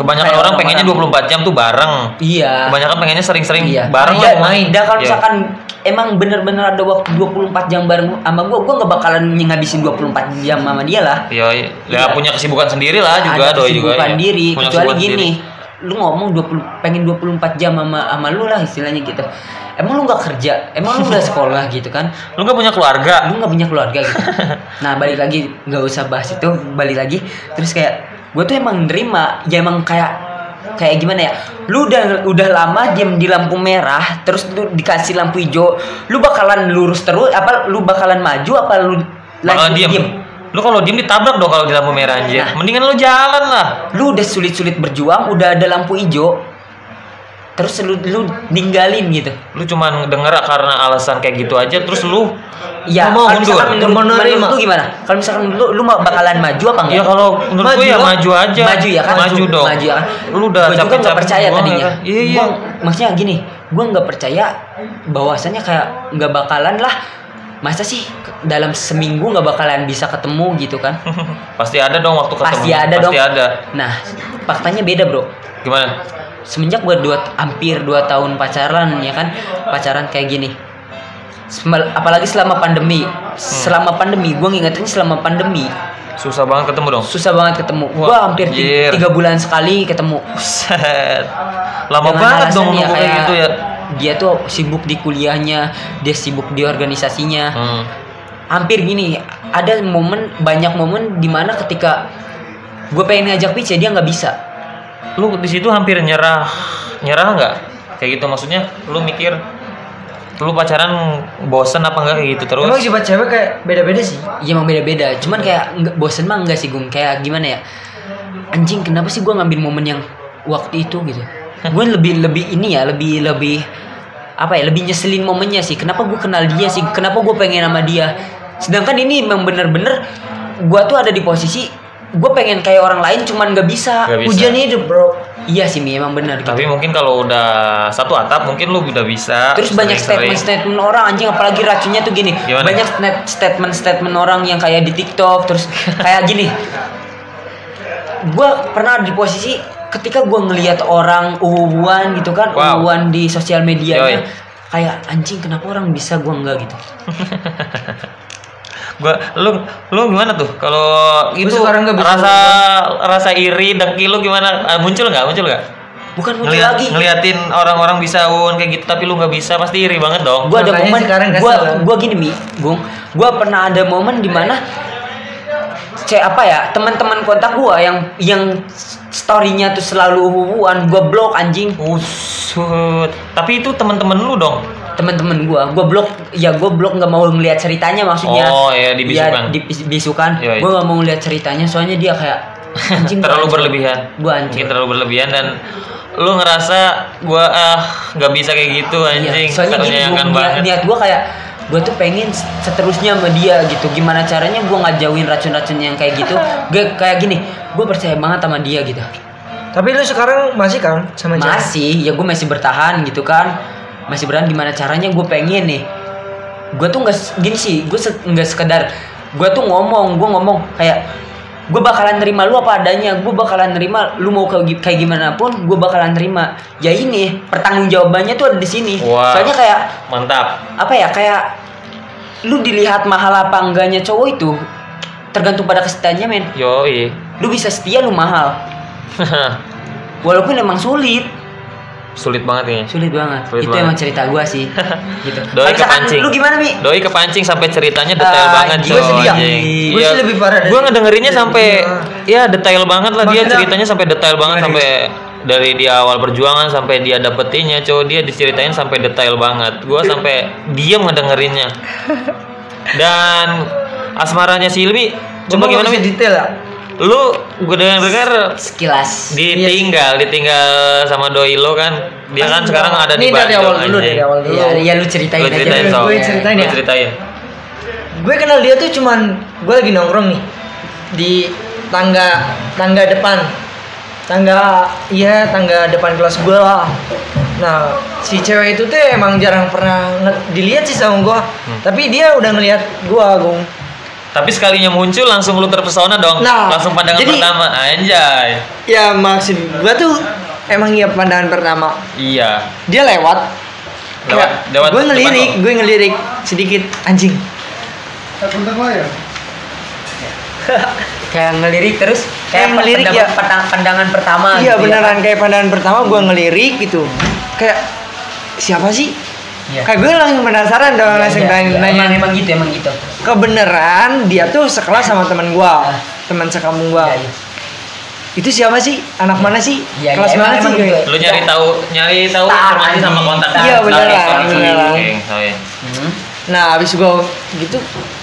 [SPEAKER 1] Kebanyakan
[SPEAKER 2] Kayak
[SPEAKER 1] orang pengennya
[SPEAKER 2] orang-orang.
[SPEAKER 1] 24 jam tuh bareng.
[SPEAKER 2] Iya.
[SPEAKER 1] Kebanyakan pengennya sering-sering
[SPEAKER 2] Iya.
[SPEAKER 1] bareng
[SPEAKER 2] Iya,
[SPEAKER 1] lah main.
[SPEAKER 2] Dan kalau
[SPEAKER 1] Iya.
[SPEAKER 2] misalkan emang bener-bener ada waktu 24 jam bareng sama gue, gue nggak bakalan ngabisin 24 jam sama dia lah.
[SPEAKER 1] Iya, iya. Ya,
[SPEAKER 2] Iya.
[SPEAKER 1] punya kesibukan sendiri lah juga
[SPEAKER 2] ada
[SPEAKER 1] doi juga.
[SPEAKER 2] kesibukan
[SPEAKER 1] iya.
[SPEAKER 2] diri
[SPEAKER 1] Punya
[SPEAKER 2] kecuali
[SPEAKER 1] kesibukan
[SPEAKER 2] gini
[SPEAKER 1] sendiri.
[SPEAKER 2] lu ngomong 20 pengen 24 jam sama sama lu lah istilahnya gitu emang lu nggak kerja emang lu nggak sekolah gitu kan
[SPEAKER 1] Lu gak punya keluarga.
[SPEAKER 2] lu nggak punya keluarga gitu nah balik lagi nggak usah bahas itu balik lagi terus kayak gue tuh emang nerima ya emang kayak kayak gimana ya lu udah udah lama diam di lampu merah terus lu dikasih lampu hijau lu bakalan lurus terus apa lu bakalan maju apa lu
[SPEAKER 1] Bakalan
[SPEAKER 2] lanjut
[SPEAKER 1] diem.
[SPEAKER 2] diem?
[SPEAKER 1] Lu kalau diem ditabrak dong kalau di lampu merah anjir.
[SPEAKER 2] Nah.
[SPEAKER 1] Mendingan lu jalan lah.
[SPEAKER 2] lu udah sulit-sulit berjuang, udah ada lampu hijau, terus lu, lu ninggalin gitu.
[SPEAKER 1] Lu cuman denger karena alasan kayak gitu aja terus lu
[SPEAKER 2] Ya,
[SPEAKER 1] Lu mau
[SPEAKER 2] kalau
[SPEAKER 1] mundur.
[SPEAKER 2] misalkan menurut,
[SPEAKER 3] Mau nerima.
[SPEAKER 2] menurut lu gimana? Kalau misalkan lu, lu mau bakalan maju apa enggak?
[SPEAKER 1] Ya kalau menurut gue ya
[SPEAKER 2] lah.
[SPEAKER 1] maju aja.
[SPEAKER 2] Maju ya kan?
[SPEAKER 1] Maju dong.
[SPEAKER 2] Maju ya kan?
[SPEAKER 1] Lu udah
[SPEAKER 2] gua juga
[SPEAKER 1] capek-capek
[SPEAKER 2] nggak percaya
[SPEAKER 1] semua,
[SPEAKER 2] tadinya.
[SPEAKER 1] ya kan? Iya, iya.
[SPEAKER 2] Gua, maksudnya gini, gua nggak percaya bahwasannya kayak nggak bakalan lah masa sih ke- dalam seminggu nggak bakalan bisa ketemu gitu kan
[SPEAKER 1] pasti ada dong waktu ketemu.
[SPEAKER 2] Pasti ada dong.
[SPEAKER 1] Pasti ada.
[SPEAKER 2] nah faktanya beda bro
[SPEAKER 1] Gimana?
[SPEAKER 2] semenjak gue dua hampir 2 tahun pacaran ya kan pacaran kayak gini Semel- apalagi selama pandemi
[SPEAKER 1] Hmm.
[SPEAKER 2] selama pandemi gue ngingetin selama pandemi
[SPEAKER 1] Susah banget ketemu dong.
[SPEAKER 2] susah banget ketemu gue
[SPEAKER 1] Wah,
[SPEAKER 2] hampir ti-
[SPEAKER 1] anjir.
[SPEAKER 2] tiga bulan sekali ketemu
[SPEAKER 1] Buset. Lama
[SPEAKER 2] Dengan
[SPEAKER 1] banget
[SPEAKER 2] alasan
[SPEAKER 1] dong nunggu kayak gitu ya.
[SPEAKER 2] dia tuh sibuk di kuliahnya dia sibuk di organisasinya
[SPEAKER 1] Hmm.
[SPEAKER 2] hampir gini ada momen banyak momen dimana ketika gue pengen ngajak pitch ya dia nggak bisa
[SPEAKER 1] Lu di situ hampir nyerah. Nyerah nggak? Kayak gitu maksudnya lu mikir lu pacaran bosen apa enggak kayak gitu terus?
[SPEAKER 3] Emang sifat cewek kayak beda-beda sih.
[SPEAKER 2] ya emang beda beda cuman kayak nggak bosen mah nggak sih Gung kayak gimana ya anjing kenapa sih gue ngambil momen yang waktu itu gitu gue lebih lebih ini ya lebih lebih apa ya lebih nyeselin momennya sih kenapa gue kenal dia sih kenapa gue pengen sama dia sedangkan ini memang bener-bener gue tuh ada di posisi gue pengen kayak orang lain cuman nggak bisa
[SPEAKER 1] Nggak bisa.
[SPEAKER 3] Ujian hidup, Bro.
[SPEAKER 2] Iya sih Mi, emang benar gitu.
[SPEAKER 1] Tapi mungkin kalau udah satu atap mungkin lu udah bisa.
[SPEAKER 2] Terus banyak
[SPEAKER 1] sering-sering.
[SPEAKER 2] statement-statement orang anjing apalagi racunnya tuh gini.
[SPEAKER 1] Gimana?
[SPEAKER 2] Banyak sna- statement-statement orang yang kayak di TikTok terus kayak gini. Gua pernah di posisi ketika gua ngelihat orang uhuan gitu kan,
[SPEAKER 1] Wow.
[SPEAKER 2] uhuan di sosial medianya
[SPEAKER 1] Yoi.
[SPEAKER 2] kayak anjing kenapa orang bisa gua enggak gitu.
[SPEAKER 1] gua lu lu gimana tuh kalau itu
[SPEAKER 3] sekarang nggak bisa
[SPEAKER 1] rasa rasa iri dengki lu gimana Ah, muncul nggak muncul nggak
[SPEAKER 2] Bukan muncul
[SPEAKER 1] Ngeliat-
[SPEAKER 2] lagi.
[SPEAKER 1] ngeliatin orang-orang bisa un kayak gitu tapi lu nggak bisa pasti iri banget dong
[SPEAKER 2] gua ada
[SPEAKER 3] Makanya
[SPEAKER 2] momen
[SPEAKER 3] sekarang kesel
[SPEAKER 2] gua
[SPEAKER 3] kan?
[SPEAKER 2] gua gini mi Gung gua pernah ada momen dimana cek apa ya teman-teman kontak gua yang yang storynya tuh selalu hubungan gua blok anjing
[SPEAKER 1] usut tapi itu teman-teman lu dong
[SPEAKER 2] teman-teman gua gua blok ya gua blok nggak mau ngelihat ceritanya maksudnya
[SPEAKER 1] Oh, iya, dibisukan.
[SPEAKER 2] ya, dibisukan
[SPEAKER 1] Iya, iya.
[SPEAKER 2] gua nggak mau ngelihat ceritanya soalnya dia kayak anjing gua
[SPEAKER 1] terlalu
[SPEAKER 2] anjing.
[SPEAKER 1] berlebihan
[SPEAKER 2] gua anjing
[SPEAKER 1] mungkin terlalu berlebihan dan lu ngerasa gua ah nggak bisa kayak gitu anjing
[SPEAKER 2] Iya, soalnya gini,
[SPEAKER 1] Ternyayangkan
[SPEAKER 2] gua- niat,
[SPEAKER 1] banget
[SPEAKER 2] niat gue kayak gue tuh pengen seterusnya sama dia gitu gimana caranya gue ngajauin racun-racun yang kayak gitu Gue kayak gini gue percaya banget sama dia gitu
[SPEAKER 3] Tapi lu sekarang masih kan sama cewek?
[SPEAKER 2] masih ya gue masih bertahan gitu kan masih bertahan gimana caranya gue pengen nih gue tuh nggak se- gini sih gue se- nggak sekedar gue tuh ngomong gue ngomong kayak gue bakalan nerima lu apa adanya gue bakalan nerima lu mau kayak gi- kayak gimana pun gue bakalan nerima ya ini pertanggungjawabannya tuh ada di sini
[SPEAKER 1] Wah.
[SPEAKER 2] soalnya kayak
[SPEAKER 1] mantap
[SPEAKER 2] apa ya kayak lu dilihat mahal apa enggaknya cowok itu tergantung pada kesetiaannya men
[SPEAKER 1] yoi
[SPEAKER 2] lu bisa setia lu mahal walaupun emang sulit
[SPEAKER 1] sulit banget ini
[SPEAKER 2] sulit banget
[SPEAKER 1] Sulit
[SPEAKER 2] itu
[SPEAKER 1] banget.
[SPEAKER 2] emang cerita gua sih gitu
[SPEAKER 1] Doi
[SPEAKER 2] Kalau misalkan
[SPEAKER 1] kepancing.
[SPEAKER 2] lu gimana mi
[SPEAKER 1] Doi kepancing sampai ceritanya detail
[SPEAKER 2] Ah,
[SPEAKER 1] banget
[SPEAKER 2] gua
[SPEAKER 1] coy,
[SPEAKER 2] sedih ya.
[SPEAKER 1] anjing.
[SPEAKER 3] Gua
[SPEAKER 1] Iya.
[SPEAKER 3] sih lebih parah dari-
[SPEAKER 1] Gua ngedengerinnya sampai ya detail banget lah dia
[SPEAKER 3] Maksudnya-
[SPEAKER 1] ceritanya sampai detail banget
[SPEAKER 3] Gimana
[SPEAKER 1] sampai dari dia awal perjuangan sampai dia dapetinnya cowok dia diceritain sampai detail banget. Gua sampai diam ngedengerinnya. Dan asmaranya Silvi coba
[SPEAKER 3] Gua
[SPEAKER 1] gimana
[SPEAKER 3] nggak bisa
[SPEAKER 1] Mi?
[SPEAKER 3] detail ya?
[SPEAKER 1] Lu gue dengar
[SPEAKER 2] sekilas
[SPEAKER 3] Iya
[SPEAKER 1] ditinggal ditinggal sama doi lo kan dia kan sekarang ada di
[SPEAKER 3] Ini dari
[SPEAKER 1] Bandung,
[SPEAKER 3] awal dulu
[SPEAKER 1] anjing.
[SPEAKER 3] dari awal dulu.
[SPEAKER 2] ya, ya lu ceritain
[SPEAKER 1] Lu
[SPEAKER 2] aja
[SPEAKER 1] ceritain
[SPEAKER 2] dulu.
[SPEAKER 1] soal
[SPEAKER 3] Gua ceritain
[SPEAKER 1] Lu
[SPEAKER 3] ya?
[SPEAKER 1] ceritain
[SPEAKER 3] Gue kenal dia tuh cuman gue lagi nongkrong nih di tangga tangga depan tangga iya tangga depan kelas gue lah nah si cewek itu tuh emang jarang pernah nge- dilihat sih sama gue
[SPEAKER 1] Hmm.
[SPEAKER 3] tapi dia udah ngelihat gue gung
[SPEAKER 1] Tapi sekalinya muncul langsung lu terpesona dong.
[SPEAKER 3] Nah,
[SPEAKER 1] langsung pandangan
[SPEAKER 3] jadi-
[SPEAKER 1] pertama anjay.
[SPEAKER 3] ya maksud gue tuh emang iya pandangan pertama
[SPEAKER 1] Iya.
[SPEAKER 3] dia lewat
[SPEAKER 1] Lewat- lewat
[SPEAKER 3] gue
[SPEAKER 1] depan
[SPEAKER 3] ngelirik
[SPEAKER 1] lo.
[SPEAKER 3] gue ngelirik sedikit anjing
[SPEAKER 2] kayak ngelirik terus
[SPEAKER 3] Kayak ngelirik,
[SPEAKER 2] pendapat-
[SPEAKER 3] ya.
[SPEAKER 2] petang- pandangan pertama
[SPEAKER 3] iya
[SPEAKER 2] gitu ya.
[SPEAKER 3] beneran kayak pandangan pertama gue
[SPEAKER 2] Hmm.
[SPEAKER 3] ngelirik gitu kayak siapa sih
[SPEAKER 2] Iya.
[SPEAKER 3] kayak gue langsung penasaran dong
[SPEAKER 2] Iya,
[SPEAKER 3] langsung
[SPEAKER 2] iya,
[SPEAKER 3] nanya,
[SPEAKER 2] iya.
[SPEAKER 3] nanya.
[SPEAKER 2] emang emang gitu emang gitu
[SPEAKER 3] kebeneran dia tuh sekelas sama teman gue teman sekampung gue
[SPEAKER 2] Ah. Iya, iya.
[SPEAKER 3] itu siapa sih anak mana sih
[SPEAKER 2] Iya,
[SPEAKER 3] kelas
[SPEAKER 2] iya,
[SPEAKER 3] mana
[SPEAKER 2] emang-
[SPEAKER 3] sih
[SPEAKER 2] emang
[SPEAKER 3] Kayak- gitu?
[SPEAKER 1] Lu nyari tahu nyari tahu
[SPEAKER 2] Star,
[SPEAKER 1] informasi
[SPEAKER 2] anjing.
[SPEAKER 1] sama kontak.
[SPEAKER 3] Iya,
[SPEAKER 1] Sorry,
[SPEAKER 3] beneran,
[SPEAKER 1] sorry, sorry.
[SPEAKER 3] beneran.
[SPEAKER 1] Oke, sorry.
[SPEAKER 2] Hmm.
[SPEAKER 3] Nah, abis gue gitu,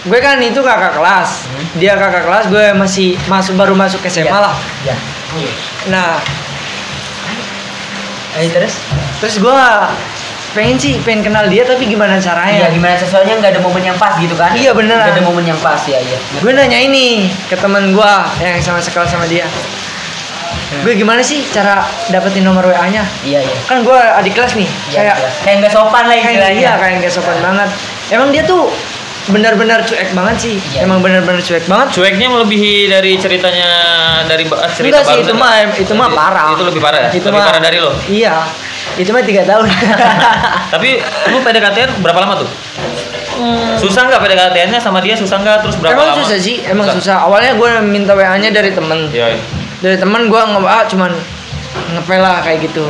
[SPEAKER 3] gue kan itu kakak kelas.
[SPEAKER 2] Hmm.
[SPEAKER 3] Dia kakak kelas, gue masih masuk baru masuk SMA lah.
[SPEAKER 2] ya
[SPEAKER 3] Nah,
[SPEAKER 2] Ayo terus
[SPEAKER 3] terus gue pengen sih pengen kenal dia tapi gimana
[SPEAKER 2] Iya
[SPEAKER 3] caranya?
[SPEAKER 2] gimana sih, soalnya nggak ada momen yang pas gitu kan?
[SPEAKER 3] Iya, beneran.
[SPEAKER 2] Nggak ada momen yang pas ya iya.
[SPEAKER 3] Gue nanya ini ke teman gue yang sama sekolah sama dia. Gue gimana sih cara dapetin nomor WA-nya?
[SPEAKER 2] Iya iya.
[SPEAKER 3] Kan gue adik kelas nih,
[SPEAKER 2] Iya,
[SPEAKER 3] kayak
[SPEAKER 2] jelas. kayak nggak sopan lah
[SPEAKER 3] kayak
[SPEAKER 2] istilahnya.
[SPEAKER 3] iya kayak gak sopan banget. Emang dia tuh benar-benar cuek banget sih
[SPEAKER 2] Iya.
[SPEAKER 3] emang benar-benar cuek banget
[SPEAKER 1] Cueknya melebihi dari ceritanya dari ba- eh, cerita
[SPEAKER 3] Enggak sih
[SPEAKER 1] barusan.
[SPEAKER 3] itu mah itu mah
[SPEAKER 1] Lebih-
[SPEAKER 3] parah
[SPEAKER 1] Itu lebih parah ya?
[SPEAKER 3] itu
[SPEAKER 1] lebih
[SPEAKER 3] mah
[SPEAKER 1] parah dari lo.
[SPEAKER 3] iya itu mah tiga tahun
[SPEAKER 1] Tapi lu PDKT-an berapa lama tuh? Susah nggak PDKT-annya sama dia susah nggak terus berapa
[SPEAKER 3] Hmm. emang
[SPEAKER 1] lama?
[SPEAKER 3] susah sih emang susah, awalnya gue minta wa nya dari temen
[SPEAKER 1] Iya. iya.
[SPEAKER 3] dari temen gue nge WA cuman ngepel lah kayak gitu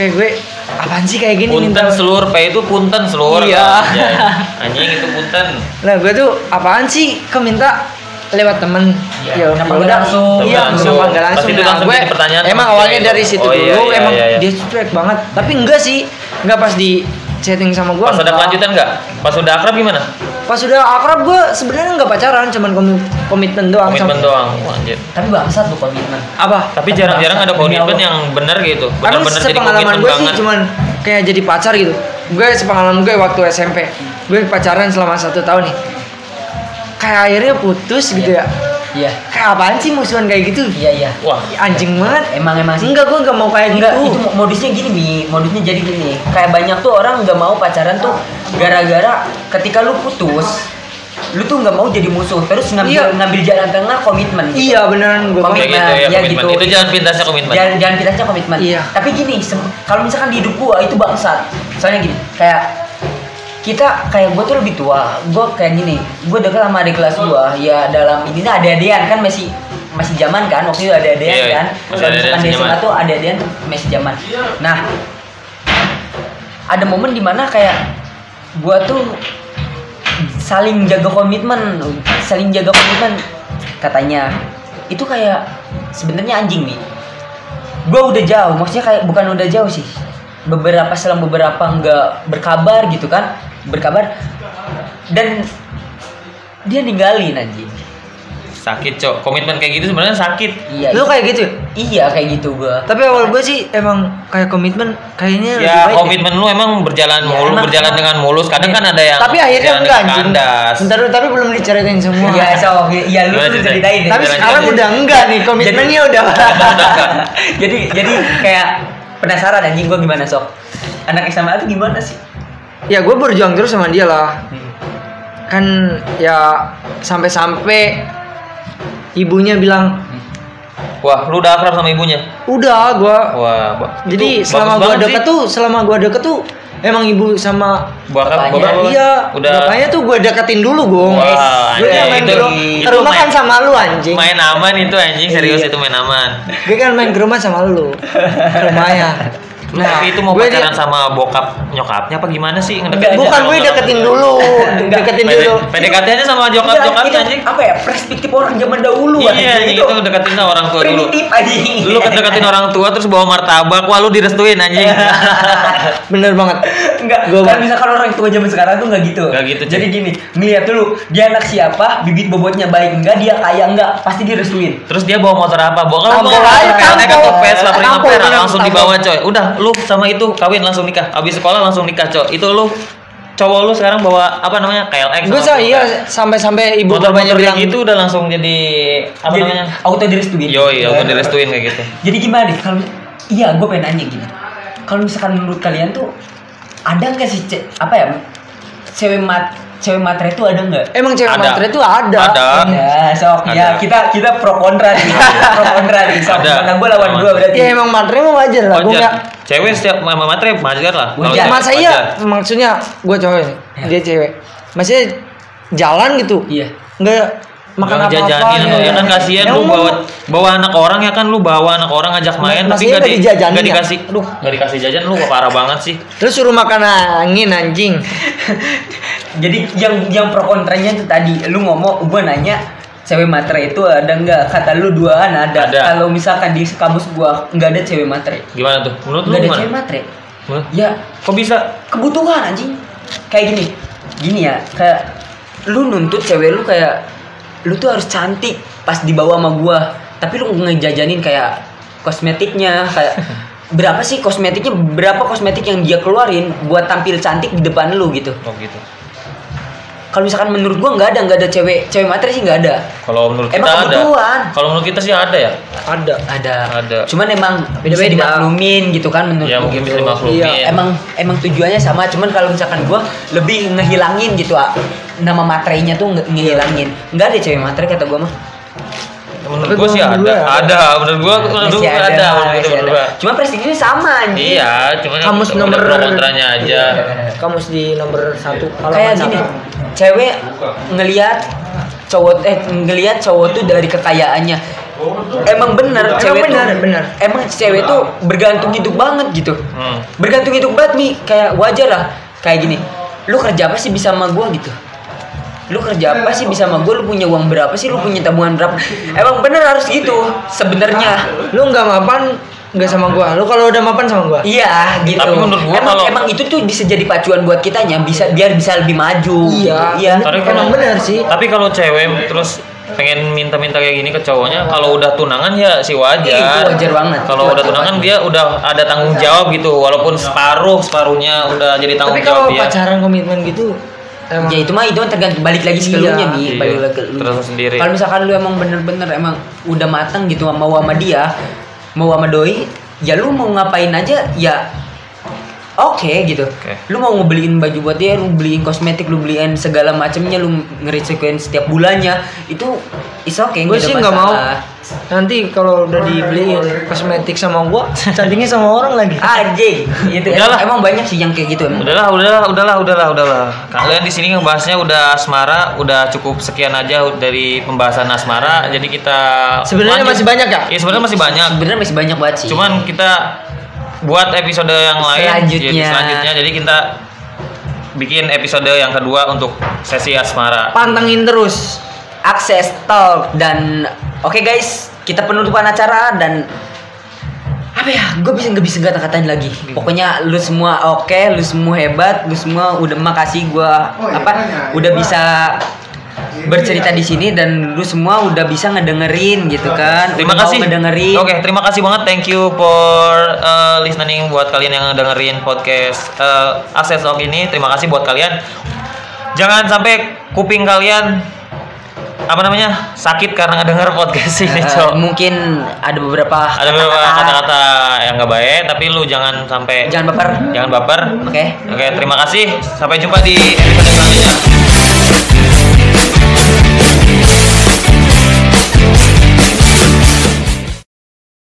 [SPEAKER 3] kayak gue apaan sih kayak gini
[SPEAKER 1] Punten
[SPEAKER 3] minta-
[SPEAKER 1] seluruh P itu punten seluruh.
[SPEAKER 3] Iya.
[SPEAKER 1] Anjay. Anjing itu punten.
[SPEAKER 3] Nah gue tuh apaan sih kok minta lewat temen
[SPEAKER 2] Iya,
[SPEAKER 3] Ya udah.
[SPEAKER 2] kenapa nggak langsung?
[SPEAKER 3] Iya
[SPEAKER 1] Kenapa
[SPEAKER 3] langsung
[SPEAKER 1] langsung?
[SPEAKER 3] nggak langsung
[SPEAKER 1] Pasti itu
[SPEAKER 3] Nah,
[SPEAKER 1] langsung
[SPEAKER 3] gue
[SPEAKER 1] jadi pertanyaan
[SPEAKER 3] Emang
[SPEAKER 1] sama
[SPEAKER 3] awalnya
[SPEAKER 1] cewek
[SPEAKER 3] dari
[SPEAKER 1] itu.
[SPEAKER 3] situ
[SPEAKER 1] Oh,
[SPEAKER 3] dulu
[SPEAKER 1] iya, iya,
[SPEAKER 3] emang
[SPEAKER 1] iya, iya.
[SPEAKER 3] dia tuh cuek banget Tapi enggak sih Enggak pas di chatting sama gue
[SPEAKER 1] Pas udah
[SPEAKER 3] enggak.
[SPEAKER 1] kelanjutan nggak? Pas udah akrab gimana?
[SPEAKER 3] Pas udah akrab gue sebenarnya nggak pacaran Cuman komi- komitmen doang
[SPEAKER 1] Komitmen
[SPEAKER 3] sama-
[SPEAKER 1] doang. Wah, anjir.
[SPEAKER 2] Tapi bangsat lu komitmen.
[SPEAKER 3] Apa?
[SPEAKER 1] Tapi jarang-jarang ada
[SPEAKER 2] Demi
[SPEAKER 1] komitmen
[SPEAKER 2] Allah.
[SPEAKER 1] yang benar gitu.
[SPEAKER 3] Emang
[SPEAKER 1] Benar-benar jadi
[SPEAKER 3] sepengalaman
[SPEAKER 1] komitmen
[SPEAKER 3] gue sih
[SPEAKER 1] banget.
[SPEAKER 3] cuman kayak jadi pacar gitu Gue sepengalaman gue waktu SMP Gue pacaran selama satu tahun nih Kayak akhirnya putus gitu ya
[SPEAKER 2] Iya.
[SPEAKER 3] Kayak apaan sih musuhan kayak gitu
[SPEAKER 2] Iya, iya.
[SPEAKER 1] Wah,
[SPEAKER 3] Anjing banget
[SPEAKER 2] Emang emang sih.
[SPEAKER 3] Enggak, gue nggak mau kayak
[SPEAKER 2] Enggak,
[SPEAKER 3] gitu.
[SPEAKER 2] itu modusnya gini Mi, modusnya jadi gini. Kayak banyak tuh orang nggak mau pacaran tuh gara-gara ketika lu putus, lu tuh nggak mau jadi musuh, terus ngambil
[SPEAKER 3] Iya.
[SPEAKER 2] ngambil jalan tengah komitmen. gitu.
[SPEAKER 3] Iya beneran gue.
[SPEAKER 2] Komitmen.
[SPEAKER 1] kayak gitu ya,
[SPEAKER 2] ya
[SPEAKER 1] komitmen.
[SPEAKER 2] gitu.
[SPEAKER 1] Itu jalan pintasnya komitmen.
[SPEAKER 2] Jalan jalan pintasnya komitmen.
[SPEAKER 3] Iya.
[SPEAKER 2] Tapi gini, sem- kalau misalkan di hidup gua itu bangsat. Soalnya gini, kayak kita kayak gue tuh lebih tua gue kayak gini gue deket sama adik kelas gue ya dalam ini ada adean kan masih masih zaman kan waktu itu ada adean
[SPEAKER 1] Iya, iya.
[SPEAKER 2] kan
[SPEAKER 1] Masih
[SPEAKER 2] Kalau
[SPEAKER 1] ada-adean
[SPEAKER 2] misalkan di
[SPEAKER 1] sejaman.
[SPEAKER 2] SMA tuh ada adean tuh masih zaman nah ada momen dimana kayak gue tuh saling jaga komitmen saling jaga komitmen katanya itu kayak sebenarnya anjing nih gue udah jauh maksudnya kayak bukan udah jauh sih beberapa selang beberapa nggak berkabar gitu kan berkabar dan dia ninggalin anjing
[SPEAKER 1] Sakit, Cok. Komitmen kayak gitu sebenarnya sakit.
[SPEAKER 2] iya
[SPEAKER 3] Lu kayak gitu. ya?
[SPEAKER 2] iya kayak gitu gue
[SPEAKER 3] Tapi awal gue sih emang kayak komitmen kayaknya lebih
[SPEAKER 1] Ya
[SPEAKER 3] baik
[SPEAKER 1] komitmen lu emang berjalan
[SPEAKER 2] Ya,
[SPEAKER 1] mulu,
[SPEAKER 2] emang-
[SPEAKER 1] berjalan
[SPEAKER 2] emang-
[SPEAKER 1] dengan mulus. Kadang kan ada
[SPEAKER 3] deh.
[SPEAKER 1] yang
[SPEAKER 3] Iya. Tapi akhirnya
[SPEAKER 1] berjalan
[SPEAKER 3] enggak
[SPEAKER 1] dengan
[SPEAKER 3] anjing.
[SPEAKER 1] kandas.
[SPEAKER 3] Bentar dulu, tapi belum diceritain semua.
[SPEAKER 2] iya so iya
[SPEAKER 1] Gimana
[SPEAKER 2] lu tuh
[SPEAKER 1] ceritanya?
[SPEAKER 2] ceritain
[SPEAKER 3] Tapi
[SPEAKER 1] Jalan-jalan.
[SPEAKER 3] sekarang udah enggak nih komitmennya udah.
[SPEAKER 2] jadi jadi kayak penasaran anjing gue gimana sok anak SMA tuh gimana sih
[SPEAKER 3] ya gue berjuang terus sama dia lah. Kan ya sampai-sampai ibunya bilang
[SPEAKER 1] Wah, lu udah akrab sama ibunya.
[SPEAKER 3] udah gue.
[SPEAKER 1] Wah, ba- Oh,
[SPEAKER 3] Jadi
[SPEAKER 1] itu
[SPEAKER 3] selama
[SPEAKER 1] bagus
[SPEAKER 3] gue
[SPEAKER 1] banget
[SPEAKER 3] deket
[SPEAKER 1] sih.
[SPEAKER 3] tuh, selama gue deket tuh emang ibu sama
[SPEAKER 1] Bakal
[SPEAKER 2] Bapaknya.
[SPEAKER 1] bapak- bapak-
[SPEAKER 3] Iya,
[SPEAKER 1] udah
[SPEAKER 3] bapaknya tuh gue deketin dulu, Gong.
[SPEAKER 1] Wah, anjing,
[SPEAKER 3] gue kan main
[SPEAKER 1] itu-
[SPEAKER 3] ke ru-
[SPEAKER 1] itu
[SPEAKER 3] ke rumah
[SPEAKER 1] main-
[SPEAKER 3] kan sama lu anjing.
[SPEAKER 1] main aman itu anjing, serius
[SPEAKER 3] Iya.
[SPEAKER 1] itu main aman.
[SPEAKER 3] Gue kan main ke rumah sama lu. Ke rumahnya.
[SPEAKER 1] Nah, tapi itu mau
[SPEAKER 3] gue
[SPEAKER 1] pacaran
[SPEAKER 3] di-
[SPEAKER 1] sama bokap nyokapnya apa gimana sih?
[SPEAKER 2] Enggak,
[SPEAKER 1] aja
[SPEAKER 3] Bukan
[SPEAKER 1] sama
[SPEAKER 3] gue
[SPEAKER 1] orang
[SPEAKER 3] deketin
[SPEAKER 1] tua.
[SPEAKER 3] dulu,
[SPEAKER 2] Enggak.
[SPEAKER 3] deketin
[SPEAKER 1] Pede-
[SPEAKER 3] dulu.
[SPEAKER 1] PDKT aja sama nyokap
[SPEAKER 2] Iya,
[SPEAKER 1] nyokapnya
[SPEAKER 2] itu
[SPEAKER 1] anjing.
[SPEAKER 2] apa ya perspektif orang zaman dahulu
[SPEAKER 1] Iya, anjing itu deketin sama orang tua dulu.
[SPEAKER 2] primitif anjing
[SPEAKER 1] Lu deketin orang tua terus bawa martabak, wah lu direstuin anjing.
[SPEAKER 3] Iya. Bener banget.
[SPEAKER 2] Enggak,
[SPEAKER 3] Gua
[SPEAKER 2] kan bisa kalau orang tua zaman sekarang tuh nggak gitu.
[SPEAKER 1] Nggak gitu, Cik.
[SPEAKER 2] Jadi gini, ngeliat dulu dia anak siapa, bibit bobotnya baik enggak, dia kaya enggak, pasti direstuin.
[SPEAKER 1] Terus dia bawa motor apa? Bawa kalau
[SPEAKER 3] Tampol
[SPEAKER 1] bawa
[SPEAKER 3] aja,
[SPEAKER 1] kayak naik
[SPEAKER 3] tampol.
[SPEAKER 1] atau Vespa Prima
[SPEAKER 3] Tampol,
[SPEAKER 1] Pera
[SPEAKER 3] bener,
[SPEAKER 1] langsung
[SPEAKER 3] tampol.
[SPEAKER 1] dibawa coy. Udah lu sama itu kawin langsung nikah. Abis sekolah langsung nikah coy. Itu lu cowok lu sekarang bawa apa namanya? KLX.
[SPEAKER 3] Gue
[SPEAKER 1] sama
[SPEAKER 3] sa iya sampai-sampai ibu
[SPEAKER 1] motor-motor
[SPEAKER 3] bapaknya
[SPEAKER 1] gitu,
[SPEAKER 3] bilang
[SPEAKER 1] yang itu udah langsung jadi apa
[SPEAKER 2] Jadi,
[SPEAKER 1] namanya?
[SPEAKER 2] Auto direstuin.
[SPEAKER 1] Yoi, aku direstuin kayak gitu.
[SPEAKER 2] Jadi gimana nih kalau iya gue pengen nanya gini. Kalau misalkan menurut kalian tuh ada nggak sih ce- apa ya cewek mat cewek matre itu ada nggak?
[SPEAKER 3] Emang cewek
[SPEAKER 1] Ada.
[SPEAKER 3] matre itu ada. Iya.
[SPEAKER 1] Ada.
[SPEAKER 2] Ya, sok. Ya,
[SPEAKER 1] Ah, Ada.
[SPEAKER 2] kita kita pro kontra nih. pro kontra nih. Sok.
[SPEAKER 1] Ada.
[SPEAKER 2] Karena gue lawan
[SPEAKER 1] Lawan.
[SPEAKER 2] gue berarti.
[SPEAKER 3] Ya emang matre mah wajar lah. Gue
[SPEAKER 1] Wajar.
[SPEAKER 3] nggak.
[SPEAKER 1] Cewek setiap mama matre wajar lah. Kalau
[SPEAKER 2] Wajar.
[SPEAKER 1] cewek,
[SPEAKER 3] Masa
[SPEAKER 1] wajar. Ya.
[SPEAKER 3] iya maksudnya gue cowok, dia cewek. Maksudnya jalan gitu.
[SPEAKER 2] Iya.
[SPEAKER 3] Enggak makan
[SPEAKER 1] Jangan
[SPEAKER 3] apa-apa.
[SPEAKER 1] jajanin atau
[SPEAKER 3] iya.
[SPEAKER 1] ya kan kasihan
[SPEAKER 3] Ya,
[SPEAKER 1] lu
[SPEAKER 3] ngomong.
[SPEAKER 1] bawa bawa anak orang ya kan lu bawa anak orang ngajak main tapi
[SPEAKER 3] Mas- maksudnya
[SPEAKER 1] nggak
[SPEAKER 3] nggak
[SPEAKER 1] di,
[SPEAKER 3] dijajanin
[SPEAKER 1] nggak
[SPEAKER 3] ya?
[SPEAKER 1] dikasih aduh nggak dikasih jajan lu kok parah banget sih
[SPEAKER 3] Terus suruh makan angin anjing.
[SPEAKER 2] Jadi yang yang pro kontranya itu tadi lu ngomong gue nanya cewek matre itu ada nggak kata lu duaan ada,
[SPEAKER 1] Ada.
[SPEAKER 2] kalau misalkan di kamus gua nggak ada cewek matre
[SPEAKER 1] gimana tuh menurut lu
[SPEAKER 2] nggak ada
[SPEAKER 1] gimana
[SPEAKER 2] cewek matre
[SPEAKER 1] Menurut-
[SPEAKER 2] ya
[SPEAKER 1] kok bisa
[SPEAKER 2] kebutuhan anjing kayak gini gini ya kayak lu nuntut cewek lu kayak lu tuh harus cantik pas dibawa sama gua tapi lu ngejajanin kayak kosmetiknya kayak berapa sih kosmetiknya berapa kosmetik yang dia keluarin buat tampil cantik di depan lu gitu
[SPEAKER 1] oh gitu
[SPEAKER 2] kalau misalkan menurut gua nggak ada nggak ada cewek cewek materi sih nggak ada
[SPEAKER 1] kalau menurut kita
[SPEAKER 2] Emang
[SPEAKER 1] ada
[SPEAKER 2] kebutuhan.
[SPEAKER 1] kalau menurut kita sih ada ya
[SPEAKER 3] Ada.
[SPEAKER 2] ada
[SPEAKER 1] Ada.
[SPEAKER 2] cuman emang bisa
[SPEAKER 3] Beda-beda.
[SPEAKER 2] dimaklumin gitu kan menurut
[SPEAKER 1] ya
[SPEAKER 2] gua
[SPEAKER 1] mungkin bisa
[SPEAKER 2] gitu.
[SPEAKER 1] dimaklumin
[SPEAKER 3] Iya,
[SPEAKER 2] emang emang tujuannya sama cuman kalau misalkan gua lebih ngehilangin gitu ah. nama materainya tuh nge- ngehilangin nggak ada cewek materai kata gue mah
[SPEAKER 1] menurut
[SPEAKER 3] Tapi
[SPEAKER 1] gua sih
[SPEAKER 3] gua Iya,
[SPEAKER 1] ada
[SPEAKER 3] dua.
[SPEAKER 1] ada menurut gua menurut
[SPEAKER 2] Masih
[SPEAKER 1] gua ada menurut
[SPEAKER 2] masih
[SPEAKER 1] gua, menurut
[SPEAKER 2] ada
[SPEAKER 1] gua
[SPEAKER 2] cuma prestiginya sama anjing
[SPEAKER 1] iya cuman
[SPEAKER 3] iya, Kamus
[SPEAKER 1] ada
[SPEAKER 3] nomor- Iya.
[SPEAKER 1] pro kontranya aja
[SPEAKER 3] kamus di nomor satu
[SPEAKER 2] kayak
[SPEAKER 3] halaman
[SPEAKER 2] gini
[SPEAKER 3] satu.
[SPEAKER 2] cewek ngelihat cowok eh ngelihat cowok tuh dari kekayaannya emang benar
[SPEAKER 3] Emang
[SPEAKER 2] cewek
[SPEAKER 3] benar,
[SPEAKER 2] tuh
[SPEAKER 3] benar.
[SPEAKER 2] emang cewek tuh bergantung hidup banget gitu
[SPEAKER 1] hmm.
[SPEAKER 2] bergantung hidup banget nih kayak wajar lah kayak gini lu kerja apa sih bisa sama gua gitu lu kerja apa sih bisa sama gua lu punya uang berapa sih lu punya tabungan berapa emang bener harus gitu sebenarnya
[SPEAKER 3] lu nggak mapan nggak sama gua lu kalau udah mapan sama gua
[SPEAKER 2] Iya gitu.
[SPEAKER 1] Tapi menurut gua
[SPEAKER 2] emang,
[SPEAKER 1] kalau-
[SPEAKER 2] emang itu tuh bisa jadi pacuan buat kitanya, bisa biar bisa lebih maju. gitu. iya.
[SPEAKER 1] Tapi kalau-
[SPEAKER 3] emang benar sih
[SPEAKER 1] tapi kalau cewek terus pengen minta-minta kayak gini ke cowoknya kalau udah tunangan ya si wajar
[SPEAKER 2] Iya, itu wajar banget.
[SPEAKER 1] kalau
[SPEAKER 2] Itu
[SPEAKER 1] udah
[SPEAKER 2] wajar
[SPEAKER 1] tunangan
[SPEAKER 2] banget.
[SPEAKER 1] dia udah ada tanggung jawab gitu walaupun separuh separuhnya udah jadi tanggung
[SPEAKER 3] tapi kalau
[SPEAKER 1] jawab dia
[SPEAKER 3] pacaran komitmen gitu emang
[SPEAKER 2] Ya itu mah itu mah tergantung balik lagi ke
[SPEAKER 3] Iya,
[SPEAKER 2] lunya,
[SPEAKER 1] iya.
[SPEAKER 2] Mi. balik lagi ke lu.
[SPEAKER 1] Terasa sendiri.
[SPEAKER 2] Kalau misalkan lu emang bener-bener emang udah matang gitu mau sama dia, mau sama doi, ya lu mau ngapain aja ya oke gitu.
[SPEAKER 1] Oke.
[SPEAKER 2] Lu mau ngebeliin baju buat dia, lu beliin kosmetik, lu beliin segala macamnya, lu ngerisikoin setiap bulannya, itu is oke
[SPEAKER 3] gue
[SPEAKER 2] ada
[SPEAKER 3] sih nggak mau
[SPEAKER 2] masalah.
[SPEAKER 3] nanti kalau udah dibeliin kosmetik sama gua cantiknya sama orang lagi
[SPEAKER 2] Anjing, itu
[SPEAKER 1] Udahlah.
[SPEAKER 2] emang, emang banyak sih yang kayak gitu emang.
[SPEAKER 1] udahlah udahlah udahlah udahlah udahlah kalian di sini ngebahasnya udah asmara udah cukup sekian aja dari pembahasan asmara jadi kita
[SPEAKER 3] Sebenarnya
[SPEAKER 1] lanjut.
[SPEAKER 3] masih banyak, Kak?
[SPEAKER 1] Iya, sebenarnya masih banyak
[SPEAKER 2] Sebenarnya masih banyak banget sih.
[SPEAKER 1] cuman kita buat episode yang lain
[SPEAKER 2] Selanjutnya.
[SPEAKER 1] jadi selanjutnya jadi kita bikin episode yang kedua untuk sesi asmara
[SPEAKER 3] pantengin terus
[SPEAKER 2] akses talk dan oke guys kita penutupan acara dan apa ya gue bisa nggak bisa nggak kata-katain lagi
[SPEAKER 1] Iya.
[SPEAKER 2] pokoknya lu semua oke lu semua hebat lu semua udah makasih gue apa udah bisa bercerita di sini dan lu semua udah bisa ngedengerin gitu kan
[SPEAKER 1] terima
[SPEAKER 2] Udah mau
[SPEAKER 1] kasih
[SPEAKER 2] ngedengerin
[SPEAKER 1] oke terima kasih banget thank you for uh, listening buat kalian yang dengerin podcast uh, akses talk ini terima kasih buat kalian jangan sampai kuping kalian apa namanya sakit karena ngedenger podcast ini
[SPEAKER 2] Eh,
[SPEAKER 1] cok
[SPEAKER 2] mungkin ada beberapa
[SPEAKER 1] ada beberapa kata-kata yang nggak baik tapi lu jangan sampai
[SPEAKER 2] jangan baper
[SPEAKER 1] jangan baper
[SPEAKER 2] oke
[SPEAKER 1] Oke, terima kasih. Sampai jumpa di episode selanjutnya.